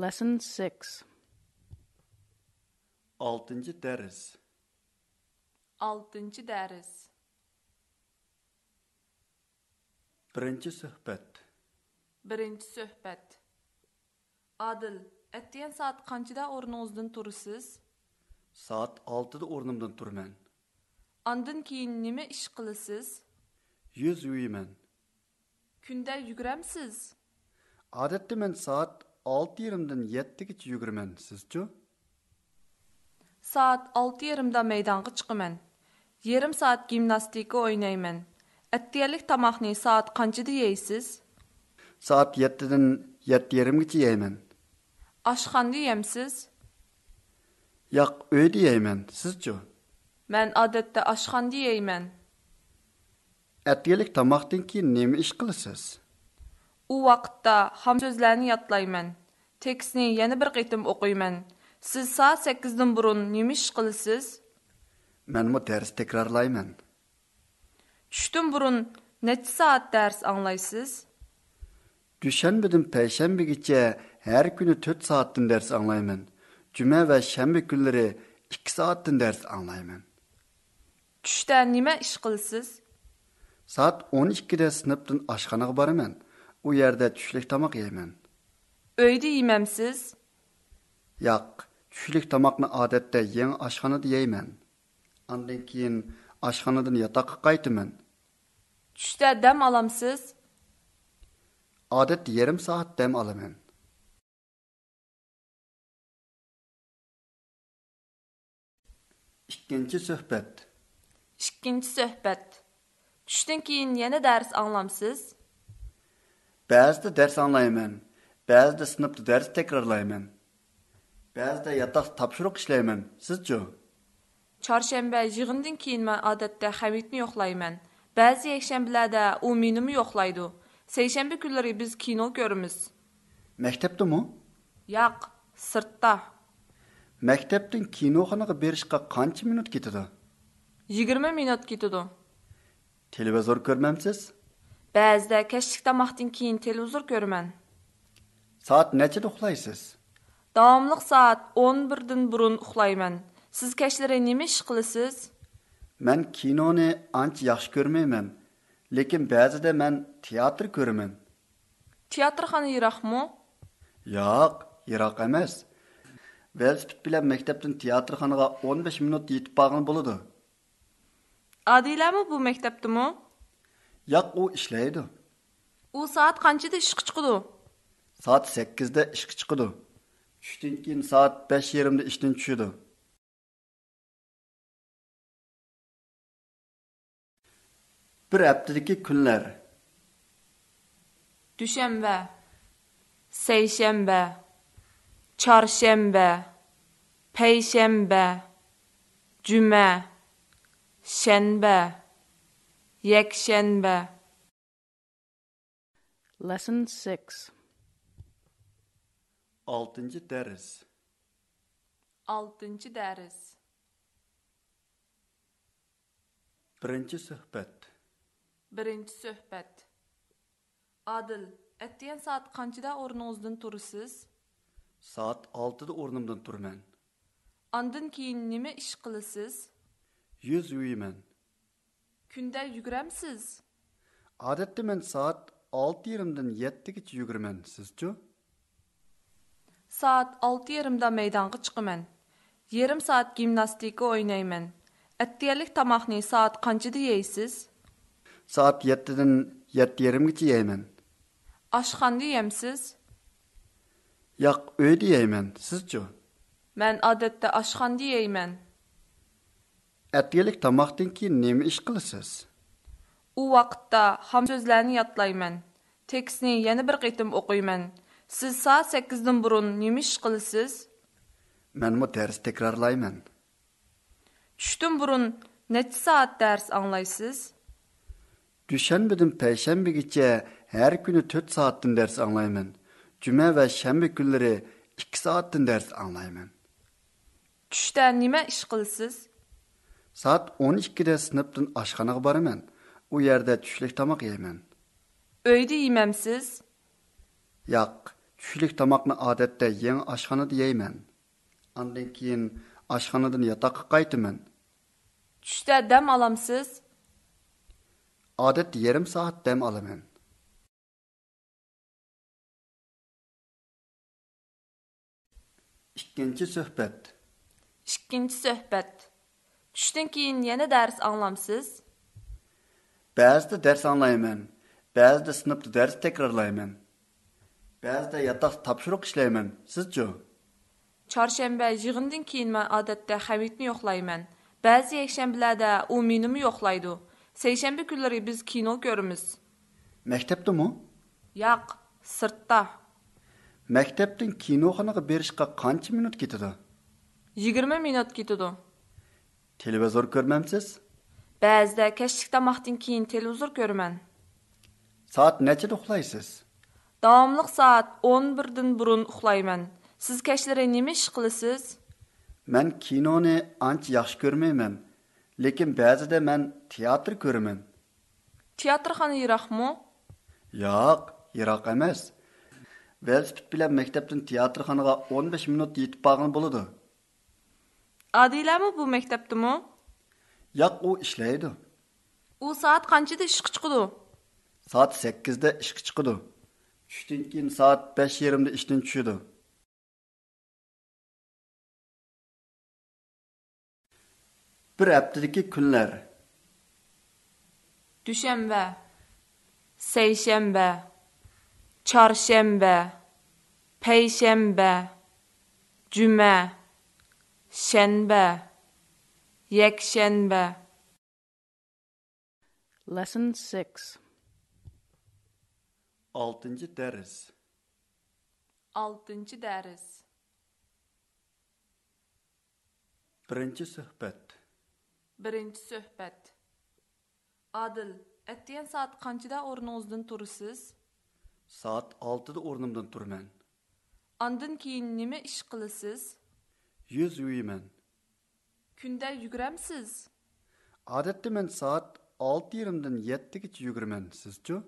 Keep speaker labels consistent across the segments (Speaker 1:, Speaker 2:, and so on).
Speaker 1: Lesson 6
Speaker 2: 6-cı dərs.
Speaker 3: 6-cı dərs.
Speaker 2: 1-ci söhbət.
Speaker 3: 1-ci söhbət. Adil, ətiyən saat qancıda orunuzdan turusuz?
Speaker 2: Saat 6-da ornumdan turman.
Speaker 3: Andan keyin nima iş qilasiz?
Speaker 2: Yüz yuyman.
Speaker 3: Gündə yugurəmsiz?
Speaker 2: Adətdə mən saat 6:30-dan 7-gəcə yugurman. Sizçü?
Speaker 3: Saat 6:30-da meydanğa çıxıman. Yarım saat gimnastika oynayman. Ətiyəlik tamaqni saat qancıda yeysiz?
Speaker 2: Saat 7-dən 7:30-gəcə yeyman.
Speaker 3: Aşxanda yemsiz?
Speaker 2: Yoq, uyda yeyman. Sizçü?
Speaker 3: Mən adətdə aşxanda yeyman.
Speaker 2: Ətyelik tamaqdan keyin nə iş qılısınız?
Speaker 3: U vaqtda ham sözlərini yadlayman. Tekstni yana bir qitim oquyman. Siz saat 8-dən burun nima iş qılısız?
Speaker 2: Mən bu dərs təkrarlayman.
Speaker 3: Tushdan burun neçə saat dərs anlaysız?
Speaker 2: Düşənbədən pəyşənbəyəcə hər günü 4 saatdan dərs anlayman. Cümə və şənbə günləri 2 saatdan dərs anlayman.
Speaker 3: Tushda nima ish qilsiz?
Speaker 2: Saat 12-də sinifdən aşxanağa barıman. O yerdə düşlük tamaq yeyman.
Speaker 3: Uyda yemamsiz?
Speaker 2: Yoq, düşlük tamaqni adətdə yeni aşxanada yeyman. Ondan keyin aşxanadan yataqqa qayıtman.
Speaker 3: Tushda dam olamsiz?
Speaker 2: Adət yarım saat dəm alaman. İkinci söhbət.
Speaker 3: Ikkinchi suhbat. Tushdan keyin yana dars anglamsiz?
Speaker 2: Bəzdə dərs anlayman, bəzdə sinifdə dərs təkrarlayman. Bəzdə yataq tapşırıq işləyəmən. Sizcə?
Speaker 3: Çarşamba yig'indan keyin men odatda Hamidni yo'qlayman. Ba'zi yakshanbalarda u menimi yo'qlaydi. Seshanba kunlari biz kino ko'ramiz.
Speaker 2: Məktəbdəmi?
Speaker 3: Yo'q, sirtda.
Speaker 2: Məktəbdən kinoxanağa berişqə qancha minut ketidi?
Speaker 3: 20 minut ketadi.
Speaker 2: Televizor görməmsiz?
Speaker 3: Ba'zida kechlik tomoqdan keyin televizor ko'raman.
Speaker 2: Saat neçədə uxlaysız?
Speaker 3: Davomli soat 11 dan burun uxlayman. Siz kechlari nima ish qilasiz?
Speaker 2: Mən kinonu anç yaxşı görməyəm. Lakin bəzidə mən teatr görəmən.
Speaker 3: Teatrxona yiroqmi?
Speaker 2: Yoq, yiroq emas. Velosiped bilan maktabdan teatrxonaga 15 minut yetib borgan bo'ladi.
Speaker 3: Adilami bu maktabdimi?
Speaker 2: Yoq, u ishlaydi.
Speaker 3: U soat qanchada ishga chiqadi?
Speaker 2: Saat 8da ishga chiqadi. Tushdan keyin soat 5:30da ishdan tushadi. Bir haftadagi kunlar.
Speaker 3: dushanba seshanba chorshanba payshanba juma shanba yakshanba
Speaker 1: Lesson 6
Speaker 2: 6-cı dərs.
Speaker 3: 6 dars
Speaker 2: 1-ci söhbət.
Speaker 3: birinchi suhbat odil attiyan soat qanchada o'rningizdan turasiz
Speaker 2: Saat 6da o'rnimdan turman.
Speaker 3: andan keyin nima ish qilasiz
Speaker 2: Yüz yuyman.
Speaker 3: kunda yuguramsiz
Speaker 2: Odatda men saat 6:30dan 7gacha yuguraman. Sizchu?
Speaker 3: Saat 6:30da meydanğa chiqaman. Yarim soat gimnastika o'ynayman. Attiyalik tomoqni soat qanchada yeysiz?
Speaker 2: Saat 7dan 7:30gacha yeyman.
Speaker 3: Oshxonada yemsiz?
Speaker 2: Yoq, uyda yeyman. Sizchu?
Speaker 3: Men odatda oshxonada yeyman.
Speaker 2: Atyelik tamaqdan keyin nima ish qilasiz?
Speaker 3: U vaqtda ham so'zlarni yodlayman. Tekstni yana bir qitim o'qiyman. Siz soat 8dan burun nima ish qilasiz?
Speaker 2: Men bu dars takrorlayman.
Speaker 3: Tushdan burun necha soat dars anglaysiz?
Speaker 2: Dushanbadan payshanbagacha har kuni 4 soatdan dars anglayman. Juma va shanba kunlari 2 soatdan dars anglayman.
Speaker 3: Tushda nima ish qilasiz?
Speaker 2: Soat 12da sinfdan oshxonaga boraman. U yerda tushlik tamoq yeyman.
Speaker 3: Uyda yemamsiz?
Speaker 2: Yoq, Түшілік тамақны адетте ең ашханада еймін. Андан кейін ашханадан ятаққа қайтымын.
Speaker 3: Түштә дәм аламсыз?
Speaker 2: Адетте ярым сағат дәм аламын. Ikkinchi suhbat.
Speaker 3: Икенче сөһбәт. Түштән кин яна дәрс аңламсыз?
Speaker 2: Ba'zida dars anglayman, ba'zida sinfda dars takrorlayman. Ba'zida yotoq topshiriq ishlayman. Sizchu?
Speaker 3: Çarşembe yığından keyin mən adətən Həmidni yoxlayıram. Bəzi yekşənbələrdə o minimi yoxlaydı. Seyşənbə günləri biz kino görürüz.
Speaker 2: Maktabdimi?
Speaker 3: Yaq, sırtda.
Speaker 2: Maktabdan kinoxonaga berishga qancha minut ketadi?
Speaker 3: 20 minut gedidu.
Speaker 2: Televizor ko'rmamsiz?
Speaker 3: Bəzidə kəşlik tamaqdan keyin televizor görürəm.
Speaker 2: Soat nechada uxlaysiz?
Speaker 3: Davamlıq saat 11-dən burun uxlayıram. Siz kəşlərə nə iş qılısınız?
Speaker 2: Men kinoni ancha yaxshi ko'rmayman, lekin ba'zida men teatr ko'raman.
Speaker 3: Teatrxana yıraqmı?
Speaker 2: Yo'q, yiroq emas. Velosiped bilan maktabdan teatrxonaga 15 minut yetib borgan bo'ladi.
Speaker 3: Adiləmi bu məktəbdimi?
Speaker 2: Yo'q, u ishlaydi.
Speaker 3: O saat qancada işə çıxdı?
Speaker 2: Saat 8'de ishga chiqadi. Tushdan keyin soat 5:30da ishdan tushadi. Bir haftadagi kunlar.
Speaker 3: Düşənbə, səyşənbə, çarşənbə, peyşənbə, cümə, şənbə, yekşənbə.
Speaker 1: Lesson 6.
Speaker 2: 6. ders.
Speaker 3: 6-cı dərs.
Speaker 2: 1. suhbat.
Speaker 3: 1-ci söhbət. Adil, ətdiyan saat qancada ornunuzdan turusuz?
Speaker 2: Saat 6'da o'rnimdan turman.
Speaker 3: Andan keyin nə iş qılısız?
Speaker 2: Yuz yuyaman.
Speaker 3: Gündə yugurəmsiz?
Speaker 2: Odatda men soat 6:30dan 7gacha yuguraman. Sizchu?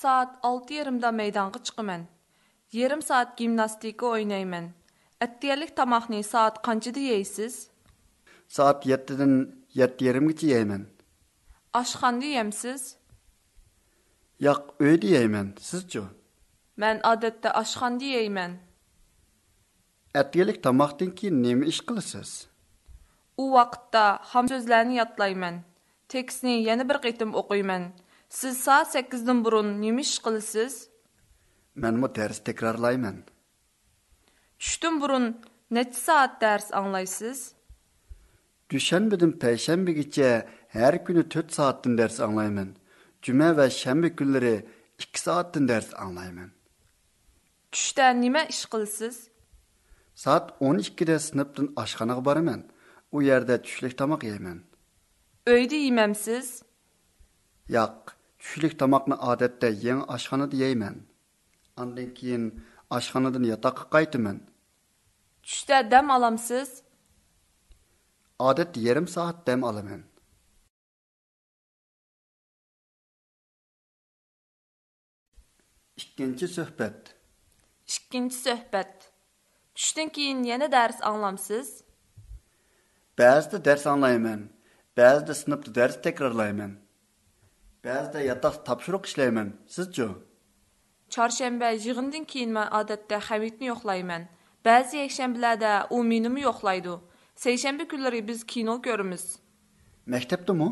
Speaker 3: Saat 6.30-da meydanğa çıxıram. Yarım saat gimnastika oynayıram. Ətdiyəlik tamaqni saat qancada yeyisiz?
Speaker 2: Soat 7dan 7:30gacha yeyman.
Speaker 3: Aşxanda yemsiz?
Speaker 2: Yo'q, uyda yeyman. Sizchu?
Speaker 3: Mən adətdə aşxanda yeyəm.
Speaker 2: Әтелік тамақтан кейін неме іш қыласыз?
Speaker 3: O vaxtda ham sözlərini yadlayıram. Tekstni yana bir qitim oxuyuram. Siz saat 8-dən burun nə iş qılısınız?
Speaker 2: Мен мо дәріс текрарлаймын.
Speaker 3: Düşdən burun neçə saat dərs anlayırsınız?
Speaker 2: Düşənbədən pəşənbəgəcə hər günü 4 saatdan dərs anlayımın. Cümə və şənbə günləri 2 saatdan dərs anlayımın.
Speaker 3: Düşdə nə iş qılısınız?
Speaker 2: Saat 12-də sinifdən aşxanağa barımın. O yerdə түшілік тамақ yeyman.
Speaker 3: Öydə yeməmsiz?
Speaker 2: Yo'q, түшілік тамақны odatda yeng aşxanada yeyman. Ondan keyin aşxanadan yotoqqa qaytaman.
Speaker 3: Düşdə dəm alamsız?
Speaker 2: Odatda yarim soat dam olaman. Ikkinchi suhbat.
Speaker 3: İkinci söhbət. Düşdən keyin yenə dərs anlamsız?
Speaker 2: Ba'zida dars anglayman, ba'zida sinfda dars takrorlayman. Ba'zida yotoq topshiriq ishlayman. Sizchu?
Speaker 3: Çarşənbə yığınından keyin mən adətən Həmidni yoxlayıram. Bəzi yekşənbələrdə o minimi yoxlaydı. Seyşənbə günləri biz kino görürüz.
Speaker 2: Maktabdimi?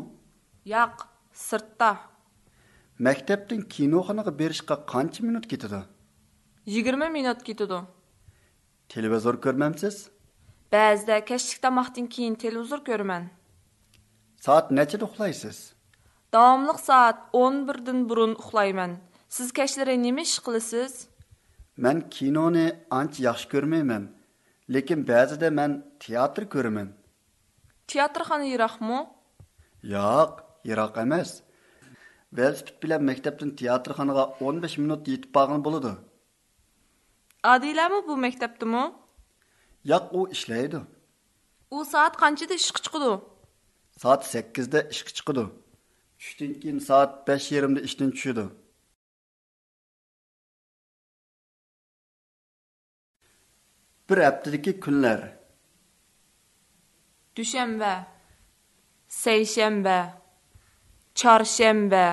Speaker 3: Yaq, sırtda.
Speaker 2: Maktabdan kinoxonaga berishga qancha minut ketadi?
Speaker 3: 20 minut gedidu.
Speaker 2: Televizor ko'rmamsiz?
Speaker 3: Bəzidə kəşlik tamaqdan keyin televizor görürəm.
Speaker 2: Soat nechada uxlaysiz?
Speaker 3: Davamlıq saat 11-dən burun uxlayıram. Siz kəşlərə nə iş qılısınız?
Speaker 2: Men kinoni ancha yaxshi ko'rmayman, lekin ba'zida men teatr ko'raman.
Speaker 3: Teatrxana yıraqmı?
Speaker 2: Yo'q, yiroq emas. Velosiped bilan maktabdan teatrxonaga 15 minut yetib borgan bo'ladi.
Speaker 3: Adiləmi bu məktəbdimi?
Speaker 2: Yo'q, u ishlaydi.
Speaker 3: O saat qancada işə çıxdı?
Speaker 2: Soat 8da ishga chiqadi. Tushdan keyin soat 5:30da ishdan tushadi. Bir haftadaki kunlar.
Speaker 3: dushanba seshanba chorshanba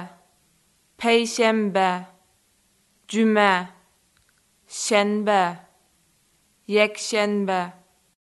Speaker 3: payshanba juma shanba yakshanba